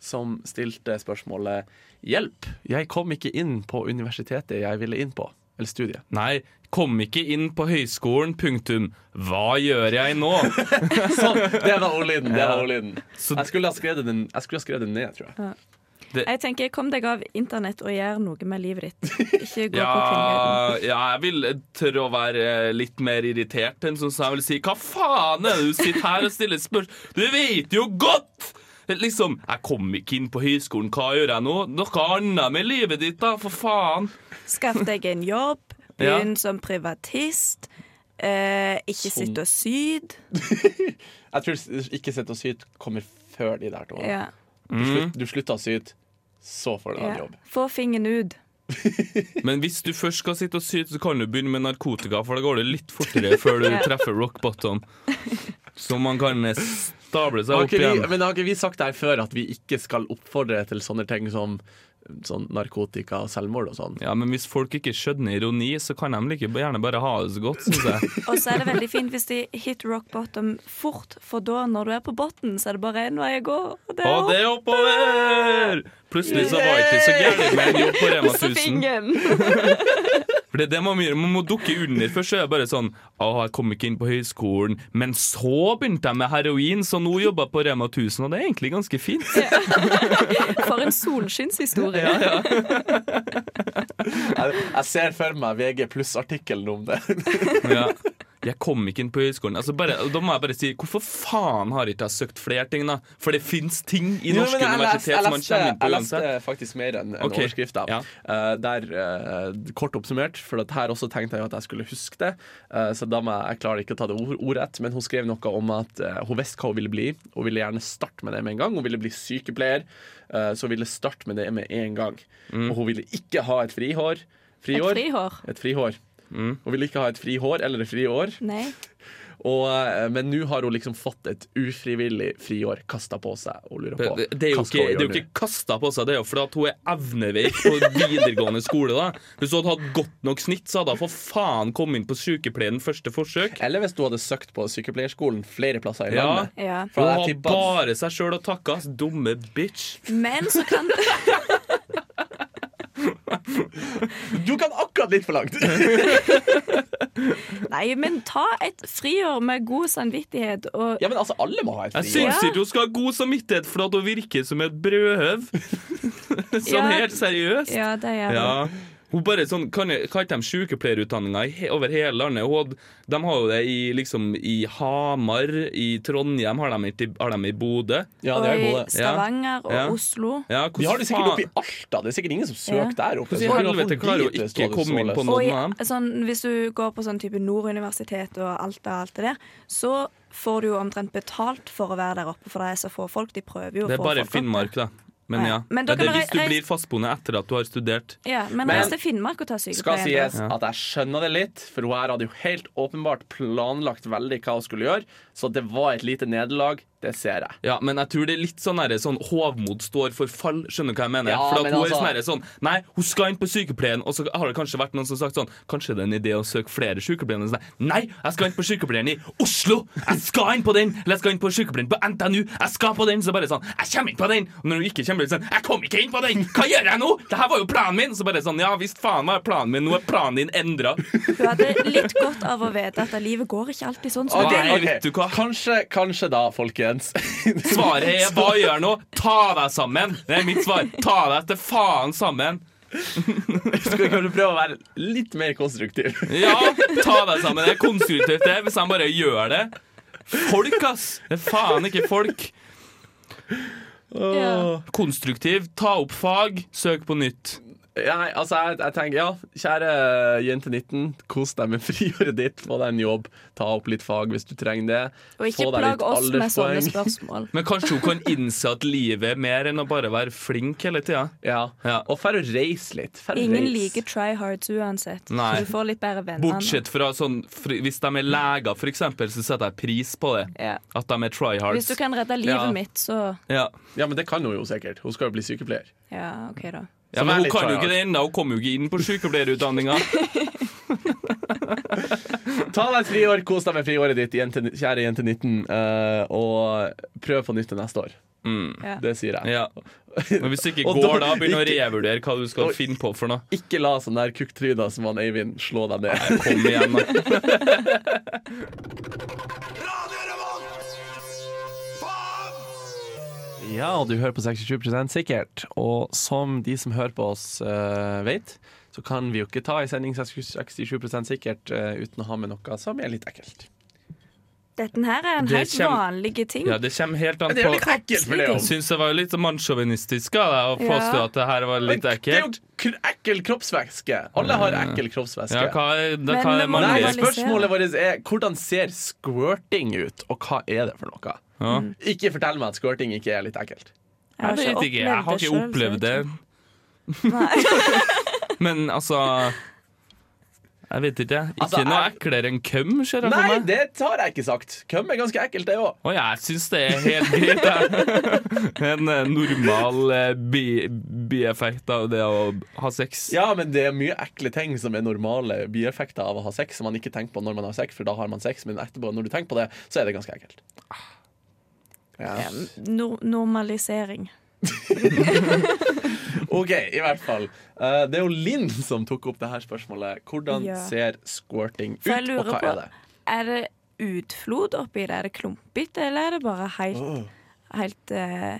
Speaker 1: som stilte spørsmålet 'Hjelp, jeg kom ikke inn på universitetet jeg ville inn på', eller studiet.
Speaker 3: Nei, kom ikke inn på høyskolen, punktum. Hva gjør jeg nå?
Speaker 1: Sånn, det var ordlyden. Det var ordlyden.
Speaker 3: Så-
Speaker 1: Jeg skulle ha skrevet den, jeg skulle ha skrevet den ned, tror jeg.
Speaker 2: Jeg tenker, kom deg av internett og gjør noe med livet ditt. Ikke gå på kvinneguiden.
Speaker 3: Ja, ja, jeg vil tørre å være eh, litt mer irritert enn sånn som jeg vil si Hva faen er det du sitter her og stiller spørsmål Du vet jo godt! Liksom, jeg kom ikke inn på høyskolen, hva gjør jeg nå? Noe annet med livet ditt, da, for faen!
Speaker 2: Skaff deg en jobb.
Speaker 3: Ja.
Speaker 2: Begynn som privatist. Eh, ikke
Speaker 1: Sånn.
Speaker 2: sitt og syd.
Speaker 1: Jeg tror s- ikke sett og syt kommer før de der to.
Speaker 2: Ja.
Speaker 1: Du,
Speaker 7: Mm.
Speaker 1: slutt, du slutta å syte, så får du en annen
Speaker 2: Ja.
Speaker 1: jobb.
Speaker 2: Få fingeren ut.
Speaker 3: Men hvis du først skal sitte og syte, så kan du begynne med narkotika, for da går det litt fortere før du
Speaker 2: Ja.
Speaker 3: treffer rock bottom. Så man kan eh, stable seg
Speaker 1: Har
Speaker 3: opp
Speaker 1: ikke vi,
Speaker 3: igjen.
Speaker 1: men har ikke vi sagt der før at vi ikke skal oppfordre til sånne ting som sånn narkotika og selvmord og sånn?
Speaker 3: Ja, Men hvis folk ikke skjønner ironi, så kan de like gjerne bare ha det så godt, syns jeg.
Speaker 1: <laughs>
Speaker 2: Og så er det veldig fint hvis de hit rock bottom fort, for da, når du er på bunnen, så er det bare én vei å gå. Og det
Speaker 3: Og
Speaker 2: er
Speaker 3: det er oppover! Plutselig så var ikke det så gærent med en jobb
Speaker 1: <laughs>
Speaker 3: på Rema
Speaker 2: opp til
Speaker 3: 1000.
Speaker 2: fingeren.
Speaker 3: For det er det man må gjøre, man må dukke under. Først så er jeg bare sånn Å, jeg kom ikke inn på høyskolen. Men så begynte jeg med heroin, så nå jobber jeg på Rema 1000, og det er egentlig ganske fint.
Speaker 2: For en solskinnshistorie.
Speaker 1: Jeg, jeg ser for meg VG pluss-artikkelen om det.
Speaker 3: <laughs> Ja. Jeg kom ikke inn på høyskolen. Altså bare, da må jeg bare si hvorfor faen har ikke jeg søkt flere ting, da? For det fins ting i
Speaker 1: Jo,
Speaker 3: norske
Speaker 1: men jeg leste-
Speaker 3: universitet som man kommer inn på
Speaker 1: Jeg leste,
Speaker 3: uansett.
Speaker 1: jeg leste faktisk mer enn en
Speaker 3: Ok,
Speaker 1: overskrifta.
Speaker 3: ja.
Speaker 1: Eh, der, eh, kort oppsummert, for at her også tenkte jeg jo at jeg skulle huske det. eh, så da må jeg, jeg klarer ikke å ta det ord, ordrett, men hun skrev noe om at eh, hun visste hva hun ville bli. Hun ville gjerne starte med det med en gang. Hun ville bli sykepleier, eh, så hun ville starte med det med en gang.
Speaker 3: Mm.
Speaker 1: Og hun ville ikke ha et frihår.
Speaker 2: Et
Speaker 1: Frihår?
Speaker 2: frihår.
Speaker 3: Mm.
Speaker 1: Et frihår. Hun ville ikke ha et frihår eller et friår.
Speaker 2: Nei.
Speaker 1: Og, eh, men nå har hun liksom fått et ufrivillig friår kasta på seg. Og lurer på
Speaker 3: Det, det er jo
Speaker 1: hva skal
Speaker 3: ikke,
Speaker 1: hun
Speaker 3: det er jo
Speaker 1: gjøre nå?
Speaker 3: ikke kasta på seg, det er jo fordi at hun er evneveik på videregående skole. da Hvis hun hadde hatt godt nok snitt, så hadde hun for faen kommet inn på sykepleien første forsøk.
Speaker 1: Eller hvis du hadde søkt på sykepleierskolen flere plasser i
Speaker 3: Ja.
Speaker 1: landet.
Speaker 2: Ja.
Speaker 1: For
Speaker 3: Hun
Speaker 1: jeg
Speaker 3: har
Speaker 1: tipper at-
Speaker 3: bare seg sjøl å takke, ass. Dumme bitch.
Speaker 2: Men så kan
Speaker 1: Du kan akkurat litt for
Speaker 3: <laughs>
Speaker 1: langt!
Speaker 2: Nei, men ta et friår med god samvittighet og
Speaker 1: ja, men altså, alle må ha et
Speaker 3: Jeg
Speaker 1: friår.
Speaker 3: syns ikke hun skal ha god samvittighet for at hun virker som et brødhøv. <laughs> sånn
Speaker 2: Ja.
Speaker 3: helt seriøst.
Speaker 2: Ja, det gjør det.
Speaker 3: Ja. Hun bare sånn, kan, kan ikke de sykepleierutdanninga i he- over hele landet? Hun, hadde- de har jo det i, liksom, i Hamar, i Trondheim, har de, ikke- har de i Bodø?
Speaker 1: Ja, det er
Speaker 2: Og
Speaker 1: jo
Speaker 2: i
Speaker 1: både.
Speaker 2: Stavanger og
Speaker 3: Ja.
Speaker 2: Oslo.
Speaker 3: Ja,
Speaker 1: Vi har det sikkert
Speaker 3: faen-
Speaker 1: oppe i Alta. Det er sikkert ingen som søker der oppe.
Speaker 3: Hvordan i
Speaker 1: Så
Speaker 3: helvete
Speaker 1: hvorfor
Speaker 3: klarer hun
Speaker 1: dit det
Speaker 3: ikke
Speaker 1: står
Speaker 3: komme inn på
Speaker 1: således?
Speaker 3: noe?
Speaker 2: Og i,
Speaker 3: Noen av
Speaker 2: sånn, hvis du går på sånn type Nord universitet og alt det, alt det der, så får du jo omtrent betalt for å være der oppe, for det er så få folk. De prøver jo
Speaker 3: Det
Speaker 2: å
Speaker 3: er
Speaker 2: få
Speaker 3: bare
Speaker 2: folk opp.
Speaker 3: Finnmark, da. Men
Speaker 2: Ah, ja.
Speaker 3: ja.
Speaker 2: Men da
Speaker 3: det er
Speaker 2: kan
Speaker 3: det hvis
Speaker 2: dere
Speaker 3: du
Speaker 2: reise-
Speaker 3: blir fastboende etter at du har studert.
Speaker 2: Ja, men
Speaker 1: Men-
Speaker 2: reis til Finnmark og ta
Speaker 1: Skal
Speaker 2: sykepleien.
Speaker 1: sies
Speaker 2: da.
Speaker 1: at jeg skjønner det litt, for hun her hadde jo helt åpenbart planlagt veldig hva hun skulle gjøre, så det var et lite nederlag. Det ser jeg.
Speaker 3: Ja, men jeg tror det er litt sånn der, sånn Hovmod står for fall, skjønner du hva jeg mener?
Speaker 1: Ja,
Speaker 3: For at
Speaker 1: men
Speaker 3: hun er
Speaker 1: altså-
Speaker 3: sånn, der, sånn Nei, hun skal inn på sykepleien, og så har det kanskje vært noen som har sagt sånn Kanskje det er en idé å søke flere sykepleiere? Og Sånn, nei, jeg skal inn på sykepleien i Oslo! Jeg skal inn på den! Eller jeg skal inn på sykepleien på NTNU! Jeg skal på den! Så bare sånn Jeg kommer inn på den! Og når hun ikke kommer inn, sånn Jeg kom ikke inn på den! Hva gjør jeg nå?! Det her var jo planen min! Så bare sånn Ja visst faen var planen min, nå er planen din endra.
Speaker 2: Du hadde litt godt av å vite at livet går ikke alltid sånn som
Speaker 1: Ok,
Speaker 2: det
Speaker 3: Nei,
Speaker 1: ok.
Speaker 3: vet du hva?
Speaker 1: Kanskje, kanskje da, folkens.
Speaker 3: Svaret er hva gjør jeg nå? Ta deg sammen! Det er mitt svar. Ta deg til faen sammen!
Speaker 1: Skal vi kanskje prøve å være litt mer konstruktiv?
Speaker 3: Ja, ta deg sammen. Det er konstruktivt, det, hvis han bare gjør det. Folk, ass! Det er faen ikke folk.
Speaker 2: Ja.
Speaker 3: Konstruktiv. Ta opp fag. Søk på nytt.
Speaker 1: Ja, Nei, altså, jeg, jeg tenker, ja, kjære jente 19, kos deg med friåret ditt, få deg en jobb, ta opp litt fag hvis du trenger det.
Speaker 2: Og ikke
Speaker 1: Få deg litt
Speaker 2: plag oss med sånne
Speaker 1: alderspoeng.
Speaker 3: <laughs>
Speaker 2: spørsmål.
Speaker 3: Men kanskje hun kan innse at livet er mer enn å bare være flink hele tida.
Speaker 1: Ja.
Speaker 3: Ja.
Speaker 1: Og for å reise litt. For å
Speaker 2: Ingen
Speaker 1: reise.
Speaker 2: liker try hards uansett.
Speaker 3: Nei.
Speaker 2: Så du får litt bedre venner.
Speaker 3: Bortsett fra sånn fri- Hvis de er leger, for eksempel, så setter jeg pris på det.
Speaker 2: Ja.
Speaker 3: At de er try
Speaker 2: Hvis
Speaker 3: hards.
Speaker 2: du kan redde livet
Speaker 1: Ja.
Speaker 2: mitt, så
Speaker 3: Ja.
Speaker 1: Ja, men det kan hun jo sikkert. Hun skal jo bli sykepleier.
Speaker 2: Ja, OK, da.
Speaker 1: Som
Speaker 3: Ja,
Speaker 1: er
Speaker 3: men hun
Speaker 1: litt
Speaker 3: kan jo
Speaker 1: tryhard.
Speaker 3: ikke det ennå. Hun kom jo ikke inn på sykepleierutdanninga.
Speaker 1: Ta deg et friår, kos deg med friåret ditt, jente, kjære jente 19, eh, og prøv på nytt til neste år.
Speaker 2: Ja.
Speaker 1: Det sier jeg.
Speaker 3: Ja. Men hvis det ikke
Speaker 1: <laughs> Og
Speaker 3: går,
Speaker 1: da-
Speaker 3: da begynn å
Speaker 1: ikke-
Speaker 3: revurdere hva du skal
Speaker 1: Oi.
Speaker 3: finne på for noe.
Speaker 1: Ikke la sånn der kukktryner som han Eivind slå deg ned.
Speaker 3: Kom igjen, da.
Speaker 1: Ja, og du hører på 67 sikkert. Og som de som hører på oss eh, vet, så kan vi jo ikke ta i sending 67 sikkert eh, uten å ha med noe som er litt ekkelt.
Speaker 2: Dette her er en
Speaker 3: Det
Speaker 2: helt
Speaker 3: kjem-
Speaker 2: vanlig ting.
Speaker 3: Ja, det kommer helt an
Speaker 1: <laughs> Det er jo litt
Speaker 3: på
Speaker 1: ekkelt for Leon.
Speaker 3: Jeg syns det var litt mannssjåvinistisk av deg å påstå
Speaker 2: Ja.
Speaker 3: at det her var litt
Speaker 1: Det er jo
Speaker 3: ekkelt. Mm.
Speaker 1: kr- ekkel kroppsvæske. Alle har ekkel kroppsvæske.
Speaker 3: Ja, hva er, da,
Speaker 2: Men
Speaker 3: hva
Speaker 2: det må
Speaker 3: er
Speaker 1: Nei,
Speaker 3: mannlig?
Speaker 2: normalisere.
Speaker 1: spørsmålet vårt er hvordan ser squirting ut, og hva er det for noe?
Speaker 3: Ja.
Speaker 1: Ikke fortell meg at squirting ikke er litt ekkelt.
Speaker 2: Jeg
Speaker 3: Jeg vet ikke, jeg har ikke
Speaker 2: selv, så jeg
Speaker 3: opplevd det.
Speaker 2: vet ikke. Nei.
Speaker 3: <laughs> Men altså Jeg vet ikke. Ikke
Speaker 1: Altså,
Speaker 3: noe
Speaker 1: jeg-
Speaker 3: eklere enn køm, ser jeg for
Speaker 1: Nei,
Speaker 3: meg.
Speaker 1: det har jeg ikke sagt. Køm er ganske ekkelt, det òg.
Speaker 3: Å ja, jeg syns det er helt greit, jeg. <laughs> En eh, normal eh, bi- bieffekt av det å ha sex.
Speaker 1: Ja, men det er mye ekle ting som er normale bieffekter av å ha sex, som man ikke tenker på når man har sex, for da har man sex, men etterpå, når du tenker på det, så er det ganske ekkelt. Ja.
Speaker 2: Nor normalisering.
Speaker 1: OK, i hvert fall. Eh, det er jo Linn som tok opp det her spørsmålet. Hvordan
Speaker 2: Ja.
Speaker 1: ser squirting ut,
Speaker 2: For jeg lurer
Speaker 1: og hva
Speaker 2: på-
Speaker 1: er det?
Speaker 2: Er det utflod oppi det? Er det klumpete, eller er det bare helt, helt eh,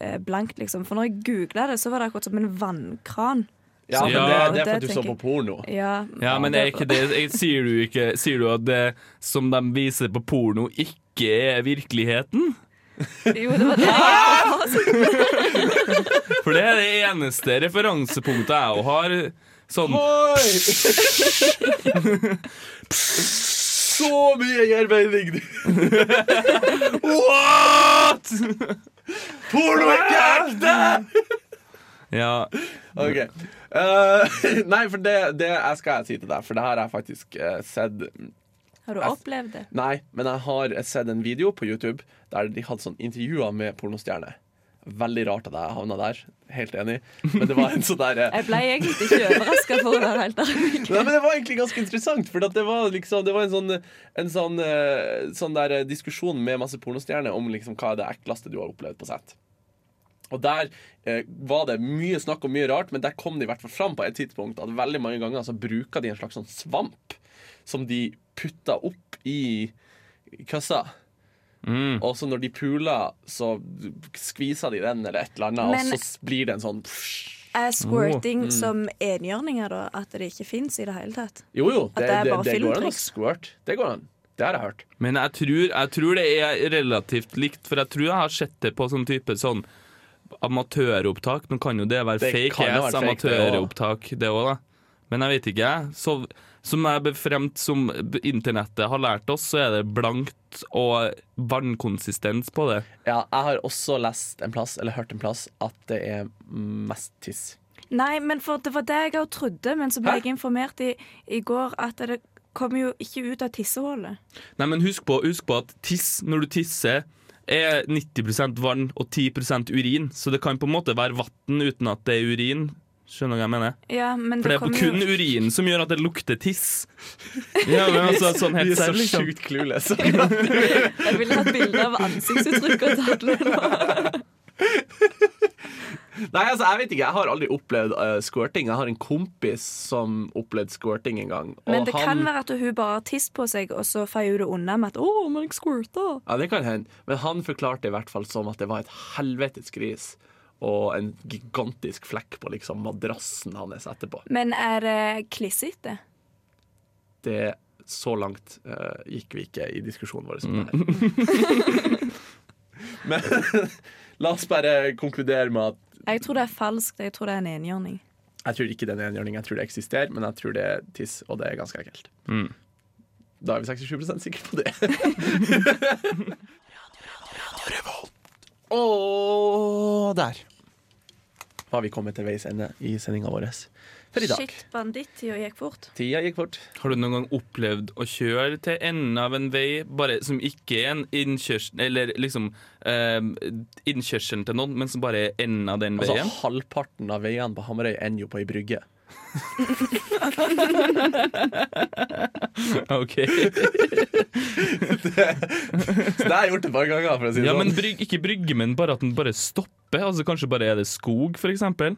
Speaker 2: eh, blankt, liksom? For når jeg googla det, så var det akkurat som en vannkran.
Speaker 1: Ja,
Speaker 2: Så-
Speaker 1: men
Speaker 3: Ja,
Speaker 1: det, det er
Speaker 2: det
Speaker 1: for at du så på
Speaker 2: tenker
Speaker 1: porno.
Speaker 2: Ja,
Speaker 3: Ja, men er ikke det jeg, Sier du ikke Sier du at det som de viser på porno, ikke er virkeligheten?
Speaker 2: Jo, det var det.
Speaker 1: <laughs>
Speaker 2: jeg gikk for.
Speaker 3: For det er det eneste referansepunktet jeg jo har. Sånn
Speaker 1: Oi! <laughs> Så mye <laughs> gjerrmening!
Speaker 3: What?!
Speaker 1: Porno er ikke ekte!
Speaker 3: Ja,
Speaker 1: Ok. <laughs> Eh, nei, for det, det jeg skal jeg si til deg, for det her har jeg faktisk eh, sett
Speaker 2: Har du
Speaker 1: Jeg-
Speaker 2: opplevd det?
Speaker 1: Nei, men jeg har sett en video på YouTube der de hadde sånn intervjuer med pornostjerner. Veldig rart at jeg havna der. Helt enig. Men det var en sånn der eh,
Speaker 2: Jeg ble egentlig ikke overraska, for å være helt
Speaker 1: <laughs>
Speaker 2: ærlig.
Speaker 1: Nei, men Det var egentlig ganske interessant. For at det var liksom Det var en sånn, en sånn, eh, sånn der eh, diskusjon med masse pornostjerner om liksom hva er det ekleste du har opplevd på sett. Og der eh, var det mye snakk om mye rart, men der kom det i hvert fall fram på et tidspunkt at veldig mange ganger så bruker de en slags sånn svamp som de putter opp i køssa. Og så når de puler, så skviser de den eller et eller annet, og
Speaker 2: Men-
Speaker 1: så s- blir det en sånn psh.
Speaker 2: Er squirting
Speaker 1: Mm.
Speaker 2: som enhjørninger, da? At det ikke fins i det hele tatt?
Speaker 1: Jo, jo,
Speaker 2: At
Speaker 1: det,
Speaker 2: det er
Speaker 1: det,
Speaker 2: bare
Speaker 1: det går an å
Speaker 2: filmtriks.
Speaker 1: squirt. Det går an. Det har jeg hørt.
Speaker 3: Men jeg tror, jeg tror det er relativt likt, for jeg tror jeg har sett det på sånn type sånn amatøropptak. Nå kan jo det være
Speaker 1: Det
Speaker 3: fake
Speaker 1: kan jo
Speaker 3: ass
Speaker 1: være fake, det
Speaker 3: amatøropptak, det òg, da. Men jeg vet ikke, jeg. Så, som jeg befremt som internettet har lært oss, så er det blankt og vannkonsistens på det.
Speaker 1: Ja, jeg har også lest en plass, eller hørt en plass, at det er mest tiss.
Speaker 2: Nei, men for det var det jeg òg trodde, men så ble
Speaker 1: Hæ?
Speaker 2: jeg informert i, i går at det kom jo ikke ut av tissehullet.
Speaker 3: Nei, men husk på, husk på at tiss, når du tisser, er 90 vann og 10 urin. Så det kan på en måte være vann uten at det er urin. Skjønner du hva jeg mener?
Speaker 2: Ja, men
Speaker 3: For
Speaker 2: det,
Speaker 3: det er
Speaker 2: kom
Speaker 3: på kun
Speaker 2: jo
Speaker 3: urinen som gjør at det lukter
Speaker 2: <laughs>
Speaker 3: tiss. Ja, men altså, sånn
Speaker 1: Vi
Speaker 3: helt
Speaker 1: er så
Speaker 3: seriøst, liksom.
Speaker 1: sjukt clueless. <laughs>
Speaker 2: Jeg ville hatt bilde av ansiktsuttrykket til alle nå.
Speaker 1: Nei, altså, jeg vet ikke. Jeg har aldri opplevd eh, squirting. Jeg har en kompis som opplevde squirting en gang. og
Speaker 2: Men det
Speaker 1: han-
Speaker 2: kan være at hun bare har tiss på seg, og så feier hun det unna med at 'Å, men jeg squirta'.
Speaker 1: Ja, det kan hende. Men han forklarte i hvert fall som at det var et helvetes gris. Og en gigantisk flekk på liksom madrassen hans etterpå.
Speaker 2: Men er det klissete?
Speaker 1: Det Så langt eh, gikk vi ikke i diskusjonen vår som det her. <laughs> Men <laughs> la oss bare konkludere med at
Speaker 2: Jeg tror det er falskt. Jeg tror det er en enhjørning.
Speaker 1: Jeg tror ikke det er en enhjørning, jeg tror det eksisterer, men jeg tror det er tiss, og det er ganske ekkelt. Da er vi 67 sikre på det. <laughs> Og der har vi kommet til veis ende i sendinga vår for i dag.
Speaker 2: Shit, bandittida gikk fort.
Speaker 1: Tida gikk fort.
Speaker 3: Har du noen gang opplevd å kjøre til enden av en vei bare, som ikke er en innkjørsel Eller liksom eh, innkjørselen til noen, men som bare er enden av den
Speaker 1: Altså,
Speaker 3: veien?
Speaker 1: halvparten av veiene på Hamarøy ender jo på ei brygge.
Speaker 3: <laughs> Ok.
Speaker 1: Så det har jeg gjort et par ganger. for å si det
Speaker 3: Ja, men
Speaker 1: sånn.
Speaker 3: bryg, ikke brygge, men bare at den bare stopper. Altså Kanskje bare er det skog, for eksempel.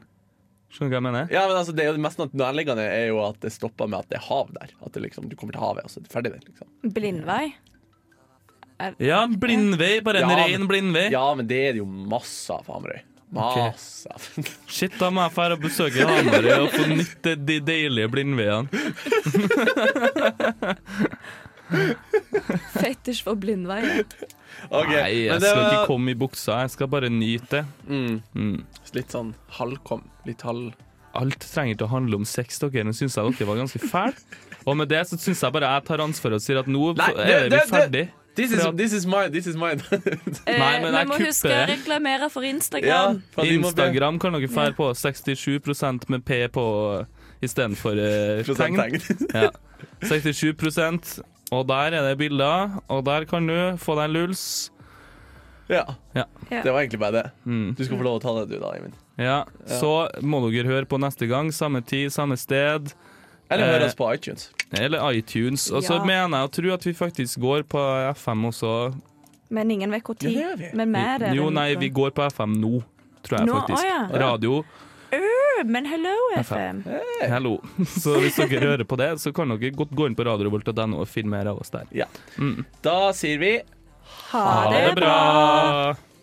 Speaker 3: Skjønner du hva jeg mener?
Speaker 1: Ja, men altså, det, er jo det mest nærliggende er jo at det stopper med at det er hav der. At det liksom, du kommer til havet, og så er det ferdig. der, Liksom.
Speaker 2: Blindvei. <laughs>
Speaker 3: Ja, blindvei. Bare en
Speaker 1: Ja, men-
Speaker 3: ren blindvei.
Speaker 1: Ja, men det er det jo masse av på Hamarøy. Masse av. <laughs>
Speaker 3: Shit, da må jeg dra og besøke Hamarøy og få nytte de deilige blindveiene.
Speaker 2: Fetisj for blindvei.
Speaker 1: Ok,
Speaker 3: Nei,
Speaker 1: men
Speaker 3: jeg
Speaker 1: det
Speaker 3: skal ikke
Speaker 1: var
Speaker 3: komme i buksa, jeg skal bare nyte det.
Speaker 1: litt sånn halvkom. Litt halv...
Speaker 3: Alt trenger ikke å handle om sex, dere. Nå syns jeg dere var ganske fæle. Og med det så syns jeg bare jeg tar ansvar og sier at nå
Speaker 1: Nei,
Speaker 3: er
Speaker 1: det-
Speaker 3: vi
Speaker 1: det-
Speaker 3: ferdig.
Speaker 1: This is, this is mine, this is <laughs> mine.
Speaker 3: Nei,
Speaker 2: Eh, vi
Speaker 3: men jeg
Speaker 2: må
Speaker 3: kupper
Speaker 2: huske å
Speaker 3: det.
Speaker 2: reklamere for Instagram.
Speaker 1: Instagram.
Speaker 3: Instagram kan dere fære på 67 med P på istedenfor uh, tegn. Ja. 67 Og der er det bilder, og der kan du få deg en luls.
Speaker 1: <laughs> Ja.
Speaker 3: Ja.
Speaker 2: Ja.
Speaker 1: Det var egentlig bare det.
Speaker 3: Mm.
Speaker 1: Du skal få lov å ta det, du, da, Eivind.
Speaker 3: Ja, Så må dere høre på neste gang. Samme tid, samme sted.
Speaker 1: Eller
Speaker 3: Eh,
Speaker 1: høre oss på iTunes.
Speaker 3: Eller iTunes. Og så
Speaker 2: Ja.
Speaker 3: mener jeg og tror at vi faktisk går på FM også.
Speaker 2: Men ingen vet hvor tid.
Speaker 1: Ja, det er vi.
Speaker 2: Men vi er sånn- der.
Speaker 3: Jo, nei, vi går på FM nå, tror jeg
Speaker 2: Nå, å
Speaker 3: faktisk.
Speaker 2: ja.
Speaker 3: Radio.
Speaker 2: Men hello, FM.
Speaker 3: Hello. <laughs> Så hvis dere hører på det, så kan dere godt gå inn på radiorevolt.no og finne mer av oss der.
Speaker 1: Da sier vi
Speaker 2: Ha det bra.
Speaker 3: bra.